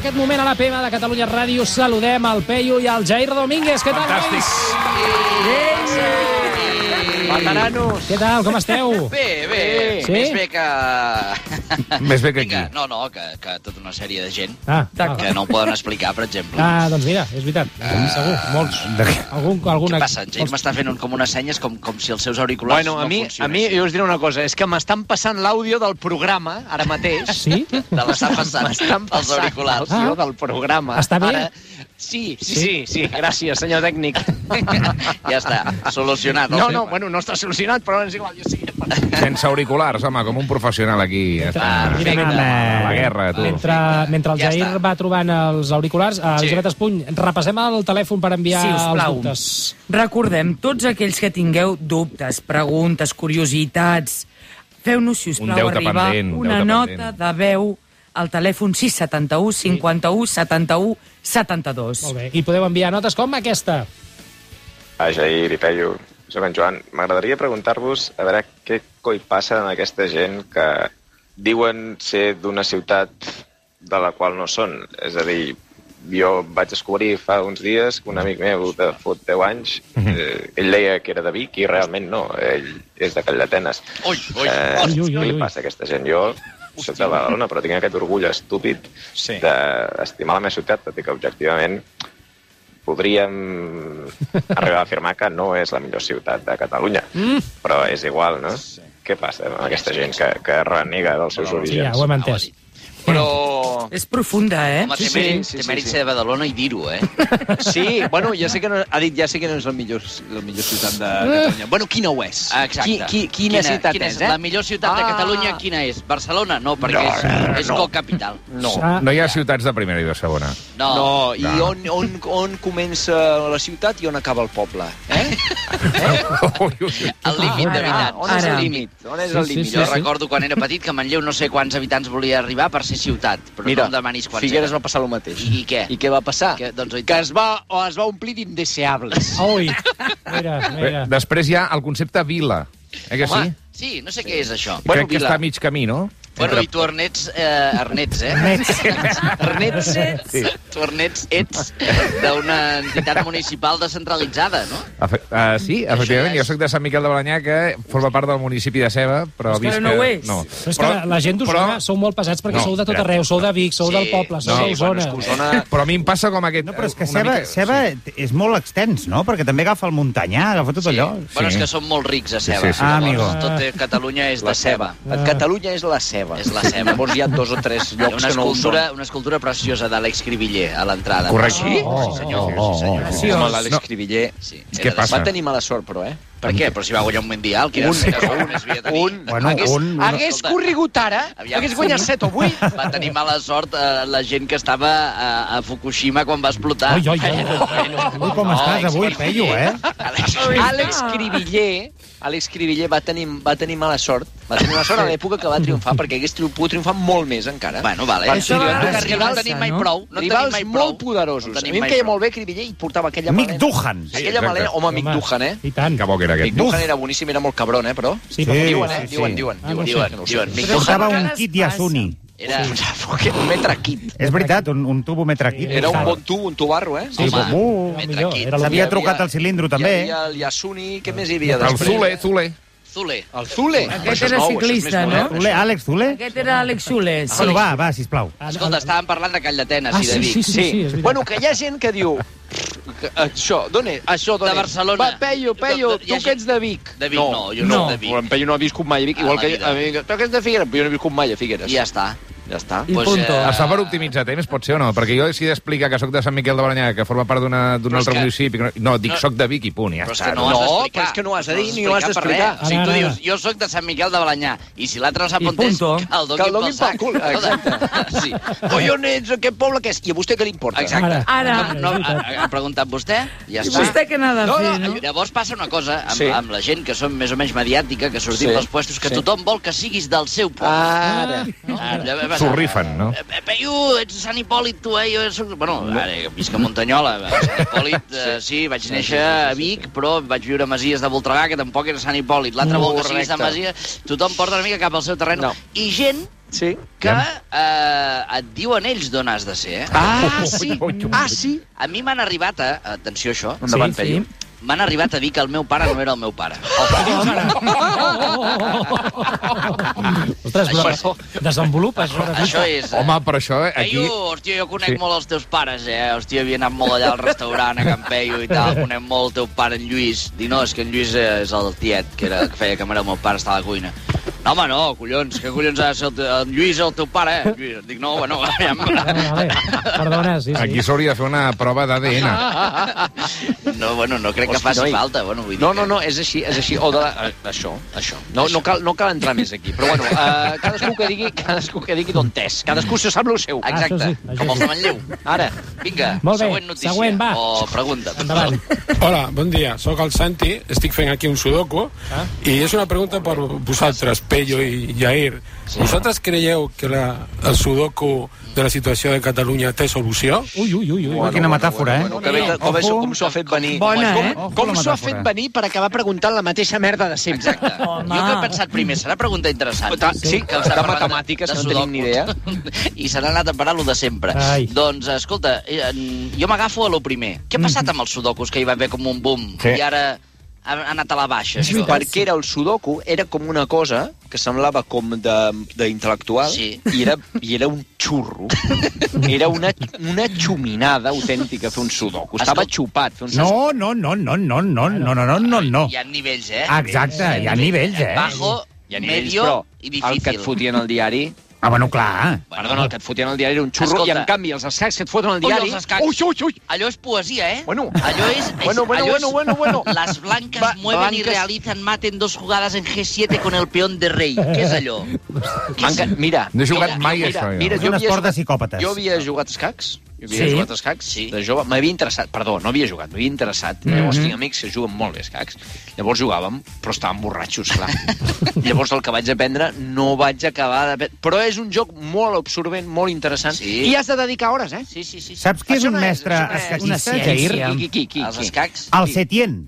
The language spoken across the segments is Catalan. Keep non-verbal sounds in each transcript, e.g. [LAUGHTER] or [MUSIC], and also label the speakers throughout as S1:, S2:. S1: aquest moment a la PM de Catalunya Ràdio saludem el Peyu i el Jair Domínguez. Què tal,
S2: Fantàstic.
S1: nois?
S3: Veteranos.
S1: Què tal, com esteu?
S3: Bé, bé,
S1: Sí?
S3: sí? més Doncs bé que...
S2: Més bé que aquí.
S3: Vinga, no, no, que, que tota una sèrie de gent
S1: Ah,
S3: que no ho poden explicar, per exemple.
S1: ah, doncs mira, és veritat. Segur, molts.
S2: De què?
S1: Algun, algun...
S3: Ah. Què passa? En James m'està fent un, com unes senyes com, com si els seus auriculars
S4: Bueno,
S3: no
S4: a mi, a mi,
S3: funcionessin.
S4: jo us diré una cosa, és que m'estan passant l'àudio del programa, ara mateix.
S1: Sí?
S3: Te l'estan passant
S4: M'estan
S3: els
S4: passant
S3: auriculars.
S1: Ah.
S4: l'àudio del programa.
S1: Està bé?
S4: Ara... Sí, sí, sí, sí, gràcies, senyor tècnic.
S3: ja està, solucionat. el
S4: No,
S3: tema.
S4: no, bueno, no està solucionat, però és igual, jo sí.
S2: Sense auriculars, home, com un professional aquí.
S3: Ah,
S2: Està...
S3: Perfecte.
S2: A la guerra, tu.
S1: Ah, Mentre, mentre el
S3: Ja
S1: Jair
S3: està.
S1: va trobant els auriculars,
S3: Sí.
S1: Elisabet sí. Espuny, repassem el telèfon per enviar
S5: Si us
S1: els
S5: plau.
S1: dubtes.
S5: Recordem, tots aquells que tingueu dubtes, preguntes, curiositats, feu-nos, si us
S2: Un
S5: plau,
S2: deute
S5: arribar
S2: pendent, un
S5: una
S2: deute
S5: nota
S2: pendent.
S5: de veu al telèfon 671 51 71 72.
S1: Molt bé. I podeu enviar notes com aquesta.
S6: A Jair i Peyu, soc en Joan. M'agradaria preguntar-vos a veure què coi passa en aquesta gent que diuen ser d'una ciutat de la qual no són. És a dir, jo vaig descobrir fa uns dies que un amic meu de fot 10 anys, eh, ell deia que era de Vic i realment no, ell és de Calldetenes.
S3: Ui, ui,
S6: Eh,
S1: Ui, ui, ui,
S6: què li
S1: ui.
S6: passa a aquesta gent? Jo soc de Badalona, però tinc aquest orgull estúpid
S2: Sí.
S6: d'estimar la meva ciutat, tot i que objectivament podríem arribar a afirmar que no és la millor ciutat de Catalunya. Mm. Però és igual, no? Sí. Què passa amb aquesta gent que, que renega dels seus
S1: Sí, ja,
S6: orígens?
S1: ho hem
S3: Ah, ho ha
S1: entès.
S3: dit. Però...
S5: És profunda, eh?
S3: Home,
S4: Sí,
S3: té
S4: sí,
S3: mèrit,
S4: sí,
S3: té
S4: sí,
S3: mèrit
S4: sí.
S3: ser de Badalona i dir-ho, eh?
S4: Sí, bueno, ja sé que no, ha dit ja sé que no és la millor, la millor ciutat de Catalunya. Bueno, quina ho és?
S3: Exacte.
S4: Qui, qui, quina, ciutat
S3: quina
S4: és, eh?
S3: La millor ciutat de
S4: Ah.
S3: Catalunya quina és? Barcelona? No, perquè
S4: No,
S3: és,
S4: no,
S3: és
S4: no.
S3: co-capital.
S4: No.
S1: Ah,
S2: No hi ha ciutats de primera i de segona.
S3: No.
S4: No, i
S2: No.
S4: on, on, on comença la ciutat i on acaba el poble? Eh?
S2: [LAUGHS] Ui, ui, ui.
S3: El límit
S5: Ah,
S3: d'habitants.
S4: on és el
S5: Ara.
S4: límit? On és
S1: Sí,
S4: el
S1: sí,
S4: límit?
S1: sí,
S3: Jo
S1: sí.
S3: recordo quan era petit que Manlleu no sé quants habitants volia arribar per ser ciutat, però
S4: Mira,
S3: no em demanis quants
S4: Figueres va
S3: eren.
S4: passar el mateix.
S3: I, I què?
S4: I què va passar?
S3: Que, doncs, oi,
S4: que es va, o es va omplir d'indeseables.
S1: Ui, mira, mira.
S2: Bé, Després hi ha el concepte vila. Eh que sí?
S3: Home, sí? no sé què és això.
S2: Crec que
S4: vila.
S2: està a mig camí, no?
S3: Bueno,
S2: Entre-
S3: i tu, Ernets, eh, Ernets, eh? Ernets. Ernets.
S2: Sí.
S3: Tu, Ernets, ets d'una entitat municipal descentralitzada, no?
S2: Efe- eh, sí, efectivament,
S3: és-
S2: jo sóc de Sant Miquel de Balanyà, que forma part del municipi de Ceba, però...
S5: Però és que
S2: visc
S5: no
S2: a-
S5: ho és.
S2: No.
S1: Però és que la- la gent d'Osona
S2: però-
S1: sou molt pesats perquè
S2: No,
S1: sou de tot
S2: espera.
S1: arreu, sou de Vic, sou
S3: Sí.
S1: del poble, sou
S2: No,
S1: d'Osona.
S4: bueno, és que Osona...
S2: Però a mi em passa com aquest... eh,
S7: No, però és que
S2: una
S7: Ceba,
S2: mica-
S7: Ceba és molt extens, no? Perquè també agafa el muntanyà, agafa tot allò.
S3: Bueno, és que som molt rics a ceba.
S2: Sí, sí, sí.
S7: Ah,
S3: Llavors,
S7: amigo.
S3: Tot eh, Catalunya és
S4: La
S3: de ceba.
S4: ceba. Ah. Catalunya és la ceba.
S3: És la ceba.
S4: Llavors hi ha dos o tres
S3: Hi ha
S4: llocs
S3: una
S4: que no ho són.
S3: escultura, una escultura preciosa d'Àlex Cribiller a l'entrada.
S2: Correcte.
S3: Sí,
S2: Oh,
S3: sí, senyor.
S7: oh,
S3: sí, senyor.
S7: oh,
S5: Sí,
S4: Home,
S5: home.
S4: l'Àlex
S2: No.
S4: Cribiller...
S3: Sí,
S2: Què
S3: era de-
S2: passa?
S4: Va tenir mala sort, però, eh?
S3: Per què? Però si va guanyar un mundial, que era
S4: Un,
S3: era el que més havia de tenir.
S4: un,
S7: Bueno,
S4: hagués,
S7: un- una-
S4: hagués
S3: Escolta.
S4: corregut ara,
S3: Aviam.
S4: hagués guanyat 7 o
S3: [LAUGHS]
S4: 8.
S3: Va tenir mala sort eh, la gent que estava eh, a, a Fukushima quan va explotar.
S7: Oi, oi, oi. Avui com estàs, avui, Peyu, eh?
S3: Àlex,
S4: Àlex Cribiller, Àlex Cribiller va tenir, va tenir mala sort. Va tenir mala sort a l'època que va triomfar, perquè hagués tri- pogut triomfar molt més encara.
S3: Bueno, vale.
S4: Per
S3: Això
S5: a
S4: rivals-
S5: vegades
S3: no en
S4: rivals,
S3: tenim
S5: passa,
S3: mai
S5: no?
S3: prou. No en tenim
S4: rivals
S3: mai prou.
S4: molt poderosos.
S3: No en
S4: a
S3: tenim
S4: mi em
S3: mai
S4: queia
S3: prou.
S4: molt bé Cribiller i portava aquella
S7: Mick
S4: malena.
S7: Duhan.
S2: Sí,
S4: aquella
S2: exacte.
S4: malena, home, Mick
S1: Home,
S4: Duhan, eh?
S1: I tant.
S2: Que bo que era
S4: Mick
S2: aquest.
S4: Duhan era boníssim, era molt cabron, eh, però...
S1: Sí,
S7: Sí,
S1: però-
S4: Diuen, eh?
S7: sí,
S4: diuen,
S7: sí.
S4: diuen,
S1: Ah,
S4: diuen,
S1: no sé.
S4: diuen,
S3: Diuen,
S4: no ho sé.
S3: diuen. Mick
S7: Portava
S3: Duhan
S7: un kit Yasuni.
S3: era...
S4: Un metre kit.
S7: És veritat, un, un tubo metraquit.
S4: Era un bon tu, un tubarro, eh?
S7: Sí,
S3: Home.
S7: bum,
S1: Era
S7: bum.
S3: Metraquit.
S1: millor, era el
S7: S'havia
S1: millor.
S7: trucat el cilindro, també.
S4: Hi havia el Yasuni, què més hi havia
S2: El
S4: després?
S2: Zule, Zule.
S3: Zule.
S4: El Zule.
S5: Aquest era ciclista, no?
S7: Zule, Eh, Àlex Zule?
S5: Aquest era Àlex Soler. Sí.
S7: Bueno, Ah, va, va, sisplau.
S3: Escolta, estàvem parlant de Calldetenes
S1: Ah,
S3: i de
S1: sí,
S3: Vic.
S1: sí, sí, sí, és veritat.
S4: bueno, que hi ha gent que diu... que Això, d'on és? Això, d'on
S3: De
S4: és?
S3: Barcelona.
S4: Va, Peyu, Peyu,
S3: De- de- hi ha
S4: tu que
S3: gent-
S4: ets de Vic.
S3: De Vic, no, jo no,
S5: No.
S3: de Vic. Ah,
S4: En Peyu no ha viscut mai a Vic,
S3: A
S4: igual
S3: la
S4: que...
S3: vida.
S4: A mi, tu que ets de Figueres? Però jo no he viscut mai a Figueres.
S3: I ja està.
S4: Ja està.
S5: I
S3: Pues,
S5: punto.
S3: eh,
S2: Està per optimitzar temps, pot ser o no? Perquè jo si he d'explicar que sóc de Sant Miquel de Balanyà, que forma part d'una- d'un
S3: Però és
S2: altre
S3: que-
S2: municipi... que No, no, dic
S3: no-
S2: soc de Vic i punt, ja
S3: Però és
S2: està.
S3: que no,
S4: Ah, No,
S3: has d'explicar.
S4: però és que no ho has de dir ni
S3: No
S4: ho has
S3: per
S4: d'explicar.
S3: res. O sigui,
S1: Ara,
S3: tu
S1: ara.
S3: dius, jo sóc de Sant Miquel de Balanyà, i si l'altre no sap
S5: I
S3: on és,
S5: punto.
S3: que el
S4: Que el
S3: donin pel
S4: donin pel
S3: sac.
S4: cul, exacte.
S3: [LAUGHS] Sí.
S4: Oi, on ets? Aquest poble que és? I a vostè què li importa?
S1: Ara.
S3: Exacte.
S5: Ara.
S3: No, no, ha ha preguntat vostè, ja
S5: I
S3: està.
S5: vostè què n'ha de
S4: No,
S5: fer,
S4: no,
S5: no?
S3: eh, Llavors passa una cosa amb,
S4: Sí.
S3: amb la gent que som més o menys mediàtica, que sortim
S4: Sí.
S3: dels puestos, que
S4: Sí.
S3: tothom vol que siguis del seu poble. Ah,
S4: Ara.
S3: no? Llavors passa-
S2: S'ho rifen, no?
S3: Eh, eh, Peiu, ets de Sant Hipòlit, tu, eh? Jo soc... Bueno, ara, visc a Muntanyola. A Sant Hipòlit, eh, sí, vaig néixer a Vic, però vaig viure a Masies de Voltregà, que tampoc era Sant Hipòlit. L'altre vol que siguis de
S4: Correcte.
S3: Masies... Tothom porta una mica cap al seu terreny.
S4: No.
S3: I gent
S4: Sí.
S3: que eh, et diuen ells d'on has de ser. Eh? Ah,
S2: [LAUGHS]
S3: sí? Ah, sí? A mi m'han arribat a... Atenció, a això.
S5: Endavant, Sí, Pello.
S3: M'han arribat a dir que el meu pare no era el meu pare.
S1: Ostres, però desenvolupes. Això,
S3: Això és... eh,
S2: Home, per això eh, aquí...
S3: Peyu, hòstia, jo conec
S2: Sí.
S3: sí. molt els teus pares, eh? Hòstia, havia anat molt allà al restaurant, a Can Peyu i tal, conec molt el teu pare, en Lluís. Dic, no, és que en Lluís eh, és el tiet que, era, que feia càmera amb el pare, estava a la cuina. No, home, no, collons, que collons ha de ser el, te... el Lluís el teu pare, eh? Lluís. Dic, no, bueno, [LAUGHS] aviam.
S1: Vale, perdona, sí, Ah, sí.
S2: Aquí s'hauria de fer una prova d'ADN.
S3: Ah, No, bueno, no crec que
S4: Hosti,
S3: faci
S4: noi.
S3: falta, bueno, vull dir
S4: No,
S3: que-
S4: no, no, és així, és així. O de la... eh, Això, això. No, no, cal, no cal entrar més aquí. Però bueno, uh, cadascú que digui, cadascú que digui d'on és. Cadascú se sap el seu.
S3: Exacte,
S1: Això
S3: ah,
S1: sí,
S3: sí,
S1: això
S3: com el
S1: sí.
S3: de Manlleu.
S4: Ara.
S3: Vinga,
S1: Molt bé,
S3: següent notícia.
S1: següent, va.
S3: O pregunta.
S1: Endavant.
S8: Hola, bon dia, sóc el Santi, estic fent aquí un sudoku ah? i és una pregunta per vosaltres, Pello i Jair. Vosaltres creieu que la, el sudoku de la situació de Catalunya té solució?
S1: Ui, ui, ui, ui.
S7: Bueno, quina metàfora, eh?
S4: Bueno, que bé, que, com, és, com s'ho ha fet venir.
S5: Bona,
S4: com,
S5: eh?
S4: Com,
S7: Ojo la
S4: com s'ho ha fet
S7: metàfora.
S4: venir per acabar preguntant la mateixa merda de sempre.
S3: Exacte.
S5: Home.
S3: Jo que he pensat primer, serà pregunta interessant.
S4: Ta- sí,
S3: ens
S4: de
S3: ha parlat
S4: matemàtiques,
S3: de
S4: que no tenim
S3: sudoku.
S4: ni idea.
S3: [LAUGHS] I se n'ha anat a parar lo de sempre.
S1: Ai.
S3: Doncs, escolta, eh, jo m'agafo a lo primer. Què ha passat amb els sudokus, que hi va haver com un boom,
S2: Sí.
S3: i ara ha ha anat a la baixa, això?
S4: perquè era el sudoku, era com una cosa que semblava com de- d'intel·lectual
S3: Sí.
S4: i, era, i era un
S3: [LAUGHS]
S4: xurro. Era una, una xuminada autèntica fer un sudoku. Estava
S3: Escolta.
S4: xupat fer un sudoku.
S7: No, no, no, no, no, no, no, no, no, no, no.
S3: Hi ha nivells, eh?
S7: Ah, Exacte, hi ha nivells, eh?
S3: Bajo, medio
S4: el que
S3: i
S4: et
S3: difícil.
S4: fotien al diari...
S7: Ah, bueno, clar.
S3: Bueno,
S4: Perdona, el que et fotien al diari era un xurro
S3: Escolta.
S4: i, en canvi, els escacs que et foten al
S3: Ui,
S4: diari...
S3: els escacs.
S4: Ui, ui, ui!
S3: Allò és poesia, eh?
S4: Bueno.
S3: allò és...
S4: [LAUGHS]
S3: és
S4: Bueno, bueno,
S3: allò
S4: bueno, bueno, bueno.
S3: [LAUGHS] Las blancas
S4: Ba-
S3: mueven y
S4: blanques-
S3: realizan mate en dos jugadas en G7 con el peón de rei. Què és allò? Què és...
S4: Manca... Mira,
S2: No he jugat
S4: mira,
S2: mai
S4: mira,
S2: això, jo.
S4: Mira,
S7: És
S4: jo
S7: un
S4: havia
S7: esport de
S4: jugat,
S7: psicòpates.
S4: jo havia jugat a escacs. Jo havia
S5: Sí.
S4: jugat a escacs.
S3: Sí.
S4: De jove m'havia interessat. Perdó, no havia jugat, m'havia interessat. Llavors tinc amics que juguen molt bé a escacs. Llavors jugàvem, però estàvem borratxos, clar. Llavors el que vaig aprendre no vaig acabar de... Però és un joc molt absorbent, molt interessant.
S3: Sí.
S4: I has de dedicar hores, eh?
S3: Sí, sí, sí. sí.
S7: Saps qui és
S4: Això
S7: un
S4: no és-
S7: mestre
S4: això no és
S5: una
S7: escatista,
S5: ciència.
S7: Jair?
S4: Qui, qui, qui, qui,
S3: Els
S4: qui?
S3: escacs
S7: El Setien.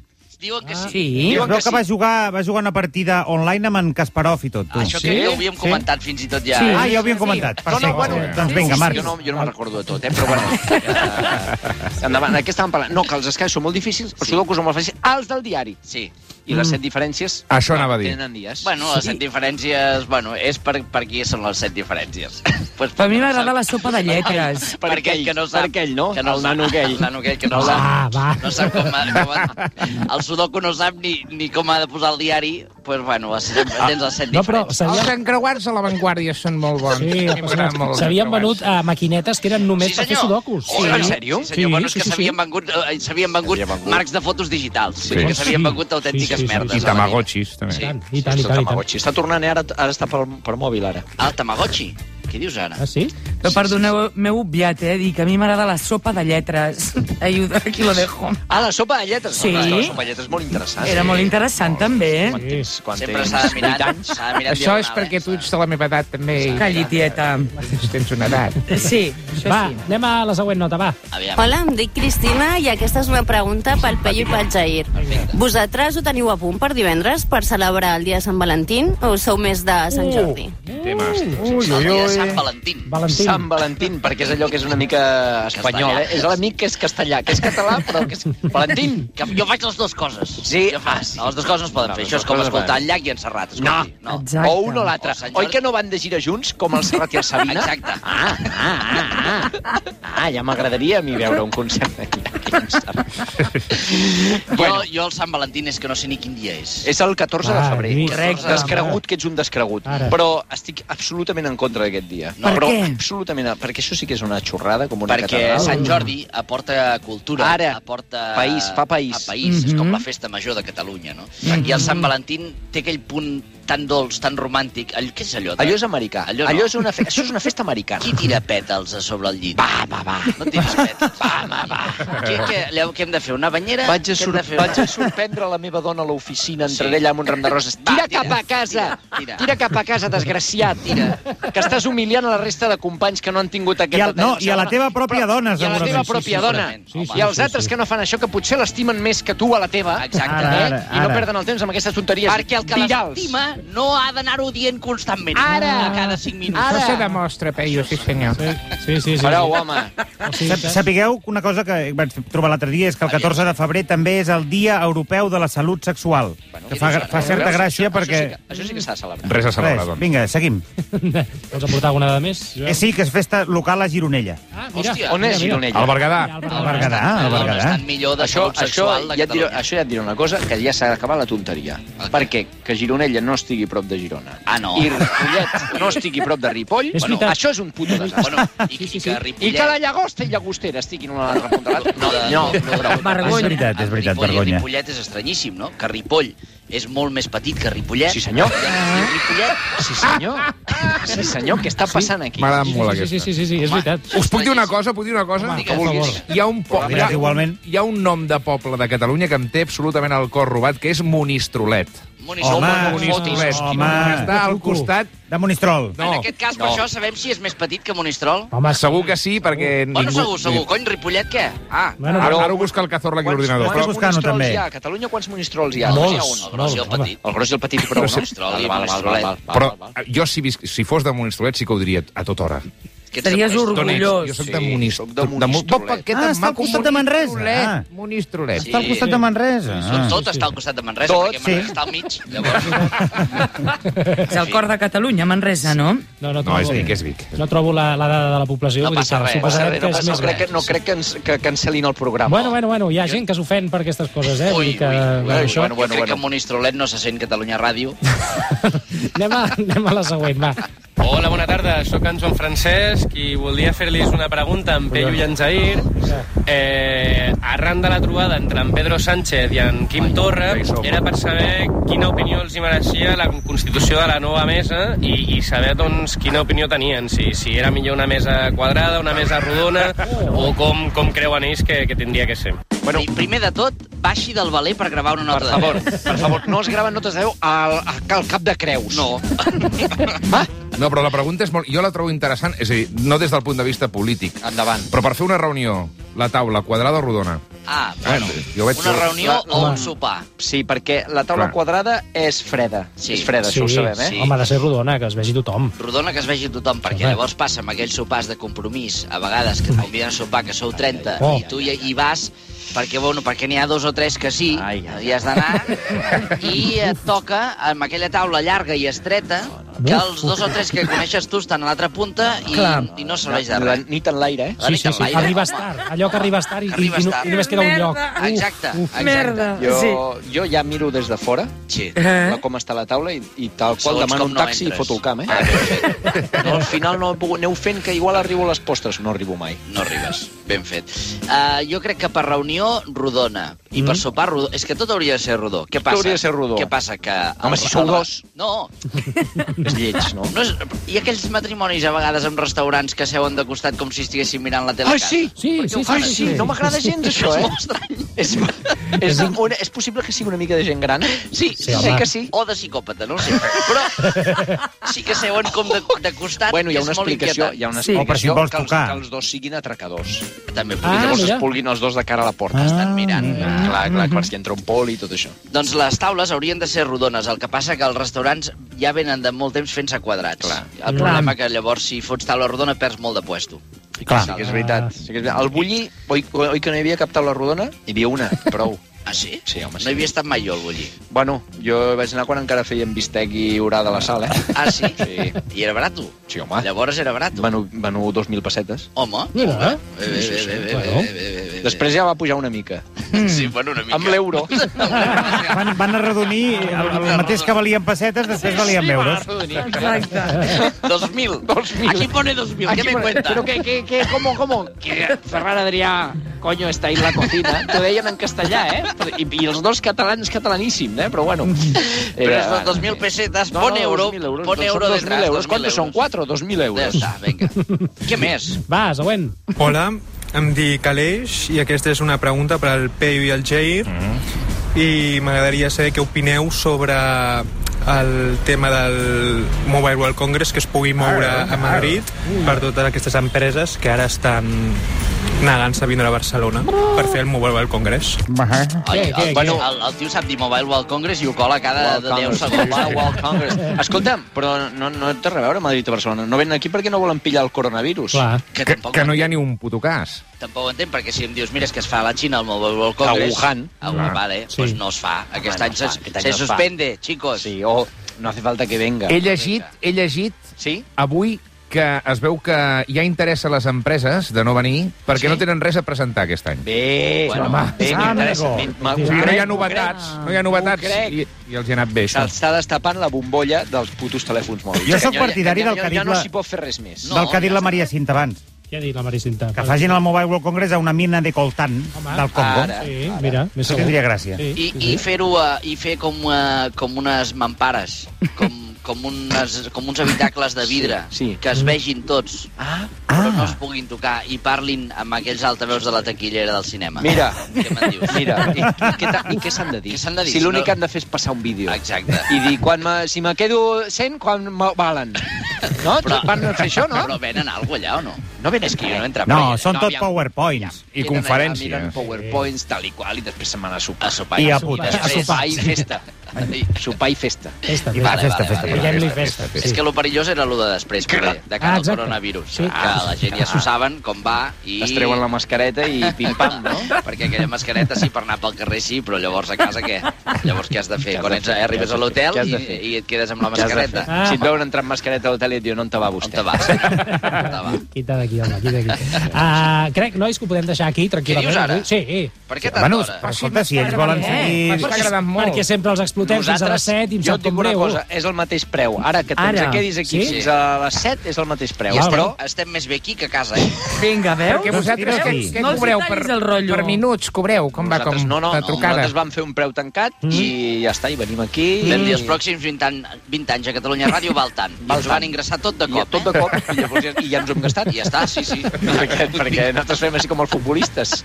S3: diuen que sí.
S5: Sí?
S7: Es
S4: Diuen
S7: veu
S4: que
S7: que va
S4: sí.
S7: jugar, va jugar una partida online amb en Kasparov i tot, tu.
S3: Això que
S1: Sí?
S3: ja ho havíem
S1: Sí.
S3: comentat fins i tot ja.
S5: Sí.
S7: Ah,
S3: eh?
S7: ja ho havíem comentat. Perfecte. Doncs vinga, Marc.
S4: Jo no, jo no me'n recordo de tot, eh? però bueno. eh, endavant, de què estàvem parlant? No, que els escacs són molt difícils, els sudokus són molt fàcils. Els del diari.
S3: Sí.
S4: I les set diferències
S2: Això anava a dir.
S4: tenen dies.
S3: Bueno, les set diferències... Bueno, és per, per qui són les set diferències. [LAUGHS] pues,
S5: Per mi m'agrada la sopa de lletres.
S3: Per, aquell que no sap.
S4: Per aquell, no?
S3: Que no
S4: el
S3: sap-
S4: nano aquell.
S3: El nano aquell que no
S1: Va,
S3: sap.
S1: Ah, va.
S3: No sap com, ha- com ha, El Sudoku no sap ni, ni com ha de posar el diari. Doncs, pues, bueno, les- tens els set
S1: Ah, No, però
S3: diferents.
S1: s'havien...
S2: encreuats a l'avantguàrdia són molt bons.
S1: Sí,
S2: M'agraden molt els
S1: s'havien
S2: encreuats.
S1: venut a maquinetes que eren només per fer sudokus.
S3: Oh, en sèrio? Sí, senyor,
S1: Sí,
S3: bueno, és que
S1: sí, sí,
S3: s'havien
S1: sí.
S3: vengut, eh, s'havien vengut, marcs de fotos digitals. Sí. Que s'havien
S1: Sí.
S3: vengut autèntiques
S1: Sí, sí, sí,
S3: merdes.
S1: sí.
S2: I tamagotxis, també.
S1: I
S3: Sí.
S1: tant, i tant, i tant. I tant.
S4: Tamagotchi. Està tornant, eh? ara, ara està per, per mòbil, ara.
S3: Ah, el Tamagotchi. Què dius ara?
S1: Ah, sí?
S5: Però perdoneu, m'he obviat, eh? Dic, a mi m'agrada la sopa de lletres. [LAUGHS] Ayuda, aquí lo dejo.
S4: Ah, la sopa de lletres.
S5: Sí.
S4: No, clar, la sopa de lletres és molt
S3: Ah,
S4: interessant.
S5: Era molt interessant, també, eh?
S4: Quan tens, quan
S3: Sempre
S4: tens
S3: s'ha de mirar,
S4: vuit anys.
S3: s'ha de mirar
S9: Això és
S3: diagonal,
S9: perquè
S3: eh?
S9: tu ets de la meva edat, també,
S5: Calli, tieta.
S9: i tens una edat.
S5: Sí, això
S1: Va,
S5: sí.
S1: anem a la següent nota, va.
S3: Aviam.
S10: Hola, em dic Cristina i aquesta és una pregunta pel Peyu i pel Jair. Vosaltres ho teniu a punt per divendres per celebrar el dia de Sant Valentín o sou més de Sant
S8: Uh,
S10: Jordi?
S2: Temes.
S3: Ui, ui, ui. Sant Valentín.
S1: Valentín.
S4: Sant Valentín, perquè és allò que és una mica espanyol,
S3: Castellà.
S4: eh? És l'amic que és castellà, que és català, però que és... Valentín!
S3: Que jo faig les dues coses.
S4: Sí,
S3: Jo faig.
S4: ah, sí.
S3: No, les dues coses no es poden
S4: No,
S3: fer.
S4: les
S3: Això és
S4: dues
S3: com
S4: coses
S3: escoltar
S4: van.
S3: el llac i en Serrat. Escolti.
S4: No.
S3: no.
S5: Exacte.
S4: O un o l'altre.
S3: O Sant Jordi.
S4: Oi que no van de gira junts, com el Serrat i el Sabina?
S3: Exacte.
S4: Ah, ah, ah, ah. ah ja m'agradaria a mi veure un concert d'aquí. d'aquí en Serrat.
S3: Bueno.
S4: bueno,
S3: Jo, jo el Sant Valentín és que no sé ni quin dia és.
S4: és el 14 de
S1: Ah,
S4: febrer.
S1: Lluís.
S4: Correcte. Descregut, que ets un descregut.
S1: Ara.
S4: Però estic absolutament en contra d'aquest dia.
S5: Per
S4: però
S5: què?
S4: absolutament, perquè això sí que és una xorrada, com una
S3: Perquè
S4: catedral.
S3: Sant Jordi aporta cultura,
S4: Ara.
S3: aporta...
S4: País, fa país. Mhm.
S3: Fa país, és com
S5: Mhm.
S3: la festa major de Catalunya, no? I el Sant Valentín té aquell punt tan dolç, tan romàntic. Allò, què és allò?
S4: Allò és americà.
S3: Allò no.
S4: Allò és una fe... Això és una festa americana.
S3: Qui tira pètals a sobre el llit? Va, va, va. No tiris pètals. Va, va, va. Què, què, Leo, què hem de fer? Una banyera?
S4: Vaig a,
S3: Què hem
S4: sor
S3: de fer?
S4: vaig a sorprendre la meva dona a l'oficina, entraré
S3: Sí.
S4: allà amb un ram de roses.
S3: Va,
S4: Tira,
S3: tira,
S4: cap a casa!
S3: tira,
S4: Tira,
S3: tira.
S4: cap a casa, desgraciat! Tira. Que estàs humiliant a la resta de companys que no han tingut
S7: I,
S4: aquest
S7: el, no, I a la teva pròpia dona,
S4: I a la teva
S7: segurament.
S4: pròpia dona.
S3: segurament. Sí, sí,
S4: I als
S1: sí,
S4: altres
S1: sí.
S4: que no fan això, que potser l'estimen més que tu a la teva.
S3: Exacte.
S7: Ara, ara,
S4: eh? I no
S7: ara.
S4: perden el temps amb aquestes tonteries
S3: Perquè el que
S4: virals.
S3: l'estima persona no ha d'anar-ho dient constantment.
S9: Ara.
S3: A cada 5 minuts.
S9: Ara. Això se demostra, Peyu, sí senyor.
S1: Sí, sí, sí.
S4: Pareu, home.
S2: Ah,
S7: Sap- Sapigueu que una cosa que vaig trobar l'altre dia és que el 14 de febrer també és el Dia Europeu de la Salut Sexual. Que fa, fa certa gràcia perquè...
S4: Això sí que, això sí que s'ha de celebrar.
S2: Res a celebrar,
S7: Res,
S2: doncs.
S7: vinga, seguim.
S1: Vols aportar alguna de més?
S7: Eh, sí, que és festa local a Gironella.
S1: Ah,
S3: Hòstia,
S4: On és Gironella?
S2: Al Berguedà.
S1: Mira, el
S7: Al
S1: Barcelona.
S7: Berguedà, al Berguedà.
S3: Estan millor de
S4: Això,
S3: salut
S4: això,
S3: sexual de
S4: ja et diré,
S3: Catalunya.
S4: això ja et diré una cosa, que ja s'ha acabat la tonteria.
S3: El
S4: Per què?
S3: què?
S4: Que Gironella no estigui prop de Girona.
S3: Ah, no.
S4: I Ripollet no estigui prop de Ripoll.
S1: És
S4: Bueno,
S1: veritat.
S4: això és un puto desastre.
S3: Bueno,
S1: Sí,
S3: i,
S1: sí, sí.
S3: i que
S4: I
S3: Ripollet...
S4: que la llagosta i llagostera estiguin una a l'altra punta de l'altra.
S3: No, de, no, no, no,
S5: Vergonya.
S7: És veritat, és veritat,
S3: Ripoll,
S7: vergonya.
S3: Ripollet és estranyíssim, no? Que Ripoll és molt més petit que Ripollet.
S4: Sí, senyor.
S3: I Ripollet...
S4: Sí, senyor. Sí, senyor, què està passant aquí?
S2: M'agrada
S1: Ah. Sí,
S2: molt
S1: sí, sí,
S2: aquesta.
S1: sí, sí, sí, és veritat.
S2: Us puc dir una cosa? Puc dir una cosa?
S3: Home,
S2: que
S3: digues,
S2: vulguis.
S3: digues.
S2: Hi ha, un po
S4: Oh,
S2: hi,
S7: Però
S2: ha,
S7: mira, igualment.
S2: hi ha un nom de poble de Catalunya que em té absolutament el cor robat, que és Monistrolet.
S3: Municipal,
S7: Home,
S3: no
S7: Monis-
S3: fotis.
S2: Monistrolet.
S7: home.
S2: Està al costat...
S7: De Monistrol.
S2: No,
S3: En aquest cas, per
S2: no.
S3: això, sabem si és més petit que Monistrol?
S1: Home,
S2: Segur que sí, perquè...
S3: Bueno,
S2: ningú-
S3: segur, segur. Cony, Ripollet, què? Ah,
S1: Bueno,
S2: Ara, ara ho busca el Cazorla aquí a l'ordinador.
S7: quants- buscant-ho,
S4: monistrolls
S7: també.
S4: hi ha? A Catalunya quants monistrolls hi ha?
S1: Molts.
S4: Hi ha
S3: el
S4: un,
S3: gros i el
S1: Molt, home.
S3: petit.
S4: El gros i el petit, però no.
S3: Monistrol i
S4: Val, val, val, val, val,
S2: Però
S4: val, val.
S2: eh, jo, si, vis- si fos de Monistrolet, sí que ho diria a tota hora.
S3: Que ets
S5: Series
S3: de Monistrol.
S2: D'on ets?
S5: orgullós.
S2: Jo soc
S4: Sí,
S2: de
S4: soc
S2: Monistrolet.
S4: de Monistrolet.
S7: Ah, està al costat de Manresa. Ah,
S2: Monistrolet.
S7: està al costat de Manresa.
S3: Tot,
S7: Ah.
S3: tot està al costat de Manresa,
S4: Tot,
S3: perquè Manresa
S7: sí.
S3: està al mig. Llavors,
S5: És el cor de Catalunya, Manresa, no?
S1: No, no,
S2: No,
S1: trobo-
S2: és Vic, és Vic.
S1: No trobo la, la dada de la població.
S3: No
S1: vull dir
S3: passa
S1: que
S3: res,
S4: Passa
S1: suposarem
S4: res, no
S1: és
S4: passa, no
S1: més
S4: crec, que,
S1: gran.
S4: no crec que, ens, que cancel·lin el programa.
S1: Bueno, bueno, bueno, hi ha gent que s'ofèn per aquestes coses, eh? Vull dir que...
S3: Ui, ui,
S1: bueno,
S4: ui,
S1: això...
S4: bueno,
S3: jo crec que Monistrolet no se sent Catalunya Ràdio.
S1: anem, a, [LAUGHS] anem a la següent, va.
S11: Hola, bona tarda. Sóc en Joan Francesc i voldria fer-los una pregunta a en Peyu i en Jair. Eh, arran de la trobada entre en Pedro Sánchez i en Quim Torra, era per saber quina opinió els hi mereixia la constitució de la nova mesa i, i saber doncs, quina opinió tenien, si, si era millor una mesa quadrada, una mesa rodona, o com, com creuen ells que, que tindria que ser.
S3: Bueno, primer de tot, baixi del valer per gravar una
S4: Per
S3: nota
S4: favor,
S3: de veu.
S4: per favor, no es graven notes de veu al, al cap de creus.
S3: No.
S4: Va,
S2: No, però la pregunta és molt... Jo la trobo interessant, és a dir, no des del punt de vista polític,
S4: endavant.
S2: però per fer una reunió, la taula, quadrada o rodona?
S3: Ah, bueno,
S2: Jo veig
S3: una
S2: que-
S3: reunió o un sopar.
S4: Sí, perquè la taula
S2: Clar.
S4: quadrada és freda.
S3: Sí.
S4: És freda, això ho sabem, eh?
S3: sí.
S1: Home, ha de ser rodona, que es vegi tothom.
S3: Rodona que es vegi tothom, perquè
S1: Home.
S3: llavors passa amb aquells sopars de compromís, a vegades que et conviden a sopar, que sou 30,
S1: Oh.
S3: i tu hi, hi vas perquè, bueno, perquè n'hi ha dos o tres que sí,
S4: Ai,
S3: ai,
S4: ai,
S3: hi has d'anar, i et toca amb aquella taula llarga i estreta que els dos o tres que coneixes tu estan a l'altra punta i,
S5: Clar.
S3: i no serveix de
S4: La
S3: res.
S4: nit en l'aire, eh?
S3: La
S1: Sí,
S3: nit
S1: sí,
S3: en
S1: sí.
S3: l'aire,
S1: Arribes
S3: home.
S1: tard. Allò que arribes tard i, i,
S3: Arribes
S1: i, no,
S3: tard.
S1: i només queda un lloc.
S5: Merda.
S3: Exacte, exacte.
S5: Merda.
S4: Jo,
S5: Ah, Sí.
S4: jo ja miro des de fora
S3: Sí.
S5: Eh?
S4: la com està la taula i, i tal qual
S3: Segons
S4: demano
S3: com
S4: un
S3: no
S4: taxi i
S3: entres. Ah,
S4: foto el camp, eh? No, al final no he pogut... Aneu fent que igual arribo a les postres. No arribo mai.
S3: No arribes. Ben fet. Uh, jo crec que per reunió, rodona. I per sopar, rodó. És que tot hauria de ser rodó. Què passa?
S4: hauria de ser rodó.
S3: Què passa? Que...
S4: Home, si sou dos.
S3: No.
S4: És lleig, no?
S3: no és... I aquells matrimonis, a vegades, en restaurants que seuen de costat com si estiguessin mirant la tele a
S4: Ai,
S3: casa.
S4: sí!
S1: Sí,
S3: Per què
S1: sí,
S3: ho fan
S1: sí,
S3: així?
S1: sí.
S4: No m'agrada gens, això,
S3: És
S4: eh?
S3: molt estrany.
S4: És, és, una, és possible que sigui una mica de gent gran?
S3: Sí, sí, sí
S1: home.
S3: que sí. O de psicòpata, no ho sé. Però sí que seuen com de, de costat.
S4: Bueno, hi ha
S3: i és
S4: una
S3: molt
S4: explicació,
S3: inquietant.
S4: hi ha una
S5: Sí.
S4: explicació
S5: O
S7: per si vols
S4: que, els,
S7: tocar.
S4: que els dos siguin atracadors. Ah,
S3: També
S1: Ah,
S3: podria
S4: llavors
S1: mira.
S4: es pulguin els dos de cara a la porta.
S7: Ah,
S4: Estan mirant.
S7: mira.
S4: Clar, clar, clar, si entra un pol i tot això.
S3: Doncs les taules haurien de ser rodones, el que passa que els restaurants ja venen de molt temps fent-se quadrats. Clar. El problema que llavors si fots taula rodona perds molt de puesto.
S7: Ah, Clar.
S4: Sí que és veritat. Sí que és veritat. El bulli, oi, oi que no hi havia cap taula rodona? Hi havia una, prou.
S3: Ah, sí?
S4: Sí, home, sí.
S3: No hi havia estat mai jo al bullir.
S4: Bueno, jo vaig anar quan encara feien bistec i orada a la sala, eh?
S3: Ah, sí?
S4: Sí.
S3: I era barato.
S4: Sí, home.
S3: Llavors era barato.
S4: Venu, venu 2.000 pessetes.
S3: Home.
S1: Mira,
S3: home.
S1: eh?
S3: Bé, bé, bé, bé, bé,
S1: Claro.
S3: bé, bé, bé, bé.
S4: Després ja va pujar una mica.
S3: Sí, bueno, una mica.
S4: Amb l'euro.
S7: Van, van arredonir el, el mateix que valien pessetes, després valien euros.
S5: Exacte.
S3: 2.000. 2.000. Aquí pone 2.000,
S9: Aquí
S3: què me
S9: pone-
S3: cuenta?
S9: Pero que, que, que, ¿cómo, cómo? Que Ferran Adrià, coño, está ahí en la cocina. T'ho deien en castellà, eh? I, I els dos catalans catalaníssim, eh? Però bueno.
S3: Però és de 2.000 pessetes,
S4: No,
S3: pon
S4: no,
S3: euro,
S4: 2.000 euros,
S3: pon
S4: són
S3: euro
S4: 2.000
S3: detrás.
S4: euros.
S3: 2.000
S4: ¿Cuántos son?
S3: euros.
S4: 4, 2.000 euros.
S3: Ja està,
S4: [LAUGHS]
S3: vinga. Què més?
S1: Va, següent.
S11: Hola, em dic Aleix i aquesta és una pregunta per al Peyu i al Jair i m'agradaria saber què opineu sobre el tema del Mobile World Congress que es pugui moure a Madrid per totes aquestes empreses que ara estan
S12: negant-se a vindre a Barcelona per fer el Mobile World Congress.
S3: Ai, el, bueno, el, el tio sap dir Mobile World Congress i ho cola cada
S4: World
S3: 10
S4: Congress.
S3: segons.
S4: Mobile World Congress. [LAUGHS] Escolta'm, però no, no té res a veure Madrid a Barcelona. No venen aquí perquè no volen pillar el coronavirus.
S2: Clar.
S4: Que,
S2: que no hi ha ni un puto cas.
S3: Tampoc ho entenc, perquè si em dius, mira, és que es fa a la Xina el Mobile World Congress...
S4: A Wuhan.
S3: A
S4: Ah,
S3: Wuhan, vale,
S4: sí.
S3: sí. pues no es fa. Aquest
S4: Home,
S3: any
S4: no
S3: se,
S4: fa, aquest any
S3: se
S4: no es fa.
S3: suspende, chicos. Sí,
S4: o no hace falta que venga.
S2: He llegit, he llegit
S4: sí?
S2: avui que es veu que ja interessa a les empreses de no venir perquè
S4: Sí?
S2: no tenen res a presentar aquest any.
S4: Bé,
S2: bueno, home,
S4: bé, m'interessa.
S2: amigo.
S4: M'in- m'ho
S2: O sigui, no hi
S4: crec,
S2: ha
S4: m'ho crec.
S2: novetats, no hi ha novetats.
S4: M'ho crec.
S2: I, I els hi ha anat bé, això.
S4: S'està destapant la bombolla dels putos telèfons mòbils.
S7: Jo sóc
S4: Ja- ja-
S7: partidari
S4: ja-
S7: del
S4: ja-
S7: que ha dit
S4: Ja no
S7: la-
S4: s'hi pot fer res més.
S7: del que ha dit la Maria Cinta abans.
S1: Què ha dit la Maria Cinta?
S7: Que facin el Mobile World Congress a una mina de coltan del Congo.
S1: Ara, Sí, ara. mira, més
S7: Això
S1: segur.
S7: tindria gràcia.
S1: Sí.
S3: I, i fer-ho eh, i fer com, eh, com unes mampares, com, com, unes, com uns habitacles de vidre,
S4: Sí, sí.
S3: que es vegin tots, ah, però no es puguin tocar, i parlin amb aquells altaveus de la taquillera del cinema.
S4: [LAUGHS] Mira,
S3: Què me'n dius?
S4: mira, i, i, què, ta- i què s'han de dir?
S3: Què s'han de dir?
S4: Si l'únic
S3: No-
S4: que han de fer és passar un vídeo.
S3: Exacte.
S4: I dir, quan me, si me quedo 100, quan me valen. No? Però, van fer això, no?
S3: Però venen alguna allà o no?
S4: No venen
S3: És que jo no entro
S7: No, són tot powerpoints.
S4: Queden allà, Miren powerpoints, tal i qual, i després se'n van a sopar. A
S7: I a puta.
S1: Ah,
S4: I després
S7: A sopar.
S4: sopar i festa. sopar i festa.
S1: Festa,
S7: I va, festa, festa.
S1: Diguem-li festa.
S3: Sí. És que lo perillós era lo de després, poder, de cara
S1: Ah,
S3: al
S1: exacte.
S3: coronavirus.
S1: Sí.
S3: Sí. Que la gent ja s'ho saben, com va, i...
S4: Es treuen la mascareta [LAUGHS] i pim-pam, no?
S3: Perquè aquella mascareta sí, per anar pel carrer sí, però llavors a casa què? Llavors què has de fer? Quan ets, eh, arribes a l'hotel
S4: Què has
S3: i,
S4: de fer?
S3: i et quedes amb la
S4: Què has de
S3: mascareta.
S4: fer? Ah. Si et veuen entrar amb mascareta a l'hotel i et diuen on te va vostè. On te [LAUGHS]
S3: vas?
S1: Quita d'aquí, home, quita d'aquí. Uh, crec, nois, que ho podem deixar aquí, tranquil·lament.
S3: Què dius ara?
S1: avui. Sí.
S3: Per què
S7: Bueno,
S3: tanta hora?
S7: escolta, si ells
S4: eh?
S7: volen seguir...
S1: Perquè sempre els explotem fins a les 7 i em
S4: jo
S1: sap
S4: et dic
S1: com
S4: una
S1: greu.
S4: cosa, és el mateix preu. Ara que te'ns
S1: Ara.
S4: quedis aquí
S1: Sí?
S4: fins a les 7 és el mateix preu.
S3: I estem,
S4: Però
S3: estem més bé aquí que a casa, eh?
S5: Vinga, veus?
S3: Perquè vosaltres
S5: Veus?
S3: què- què
S5: no els
S3: cobreu
S5: hi tallis
S3: per-
S5: el rotllo.
S3: per
S2: minuts cobreu, com
S4: va, com no, no,
S3: la
S4: no,
S3: trucada.
S4: nosaltres vam fer un preu tancat i ja està, i venim aquí.
S3: Vam dir,
S4: I...
S3: els pròxims 20, an- 20 anys a Catalunya Ràdio val tant. I ens van ingressar tot de cop, eh?
S4: tot de cop, i llavors ja, i ja ens ho hem gastat.
S3: I ja està, sí, [LAUGHS] sí.
S4: perquè, perquè nosaltres fem així com els futbolistes.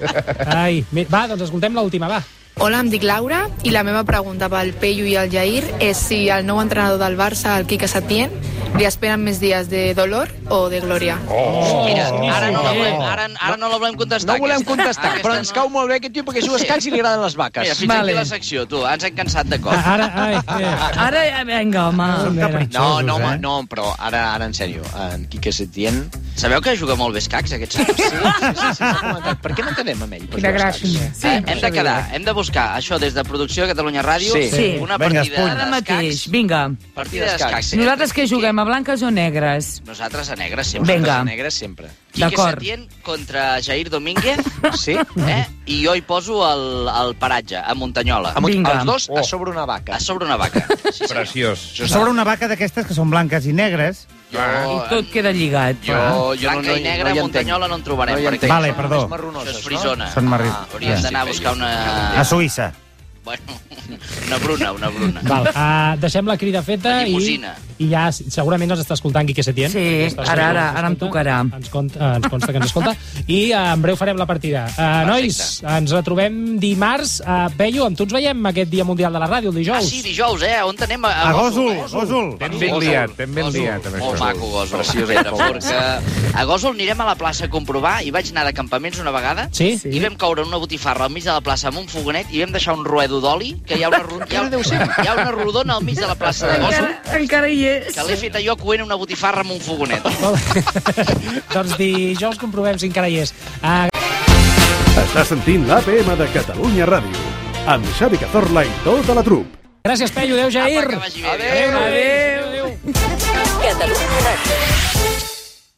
S1: Ai, mi- va, doncs escoltem l'última, va.
S13: Hola, em dic Laura i la meva pregunta pel Peyu i el Jair és si el nou entrenador del Barça, el Quique Setién, li esperen més dies de dolor o de glòria.
S3: Oh, Mira, ara no la volem, ara, ara no la volem contestar.
S4: No volem
S3: aquesta.
S4: contestar,
S3: Aquesta
S4: però ens cau molt bé aquest tio perquè juga escacs i li agraden les vaques.
S3: Mira, fins vale. aquí la secció, tu. eh? Ens hem cansat de cop.
S4: Ah.
S1: Ah, Ara, ai, eh.
S5: Ara, eh, vinga, home.
S4: No, no,
S7: eh?
S4: home, no, però ara, ara en sèrio, en Quique Setién...
S3: Sabeu que juga molt bé escacs, aquests anys? Sí,
S4: sí, sí, sí, s'ha comentat. Per què no quedem amb ell? per jugar a escacs?
S3: Sí, eh, hem de quedar, hem de buscar això des de producció de Catalunya Ràdio,
S5: Sí. Sí.
S3: una
S5: Vinga,
S3: partida
S5: Ara mateix, vinga.
S3: Partida d'escacs.
S5: Nosaltres què juguem, a blanques o negres?
S3: Nosaltres a negre sempre.
S5: Vinga. Nosaltres a
S4: negre sempre.
S3: Quique
S5: D'acord.
S3: Setién contra Jair Domínguez.
S4: Sí.
S3: Eh? I jo hi poso el, el paratge, a Muntanyola.
S7: A Mont- Vinga. els dos a
S4: sobre una vaca.
S3: A sobre una vaca. Sí,
S2: Preciós.
S7: Sobre una vaca d'aquestes que són blanques i negres...
S3: Jo,
S5: I tot queda lligat.
S3: Jo, jo Oh, Blanca no, i negra, no Muntanyola no en trobarem.
S7: hi
S3: perquè
S7: entenc. Vale,
S3: això
S7: perdó.
S3: és marronoses, Això és frisona.
S7: Són marri-
S3: Ah, hauríem
S7: Ja.
S3: d'anar a buscar una...
S7: A Suïssa.
S3: Bueno, [LAUGHS] una bruna, una bruna.
S1: Val, uh, deixem la crida feta
S3: La
S1: i,
S3: limusina.
S1: i ja s- segurament ens està escoltant Quique Setién.
S5: Sí,
S1: Està
S5: ara, ara,
S1: escoltant,
S5: ara em tocarà.
S1: Ens, conta, eh, ens consta que ens escolta. I uh, en breu farem la partida. Uh, nois, ens retrobem dimarts. Uh, Peyu, amb tu ens veiem aquest Dia Mundial de la Ràdio, el dijous.
S3: Ah, sí, dijous, eh? On anem? A,
S1: A Gòsol, Gòsol.
S2: T'hem ben liat, t'hem ben liat. amb
S3: Molt
S2: això.
S3: maco, Gòsol.
S2: Preciós,
S3: Pedra
S2: aquest poble.
S3: forca. A Gòsol anirem a la plaça a comprovar i vaig anar de campaments una vegada
S1: Sí?
S3: i vam caure en una botifarra al mig de la plaça amb un fogonet i vam deixar un ruedo d'oli que hi ha una, ro- hi ha, hi ha una rodona al mig de la plaça de Gòsol
S5: encara hi és.
S3: que l'he fet jo coent una botifarra amb un fogonet.
S1: [LAUGHS] doncs dijous comprovem si encara hi és. Uh,
S14: Està sentint l'APM de Catalunya Ràdio, amb Xavi Cazorla i tota la trup.
S1: gràcies, Peyu. Adéu, Jair.
S3: Adéu, adéu.
S15: Catalunya Ràdio.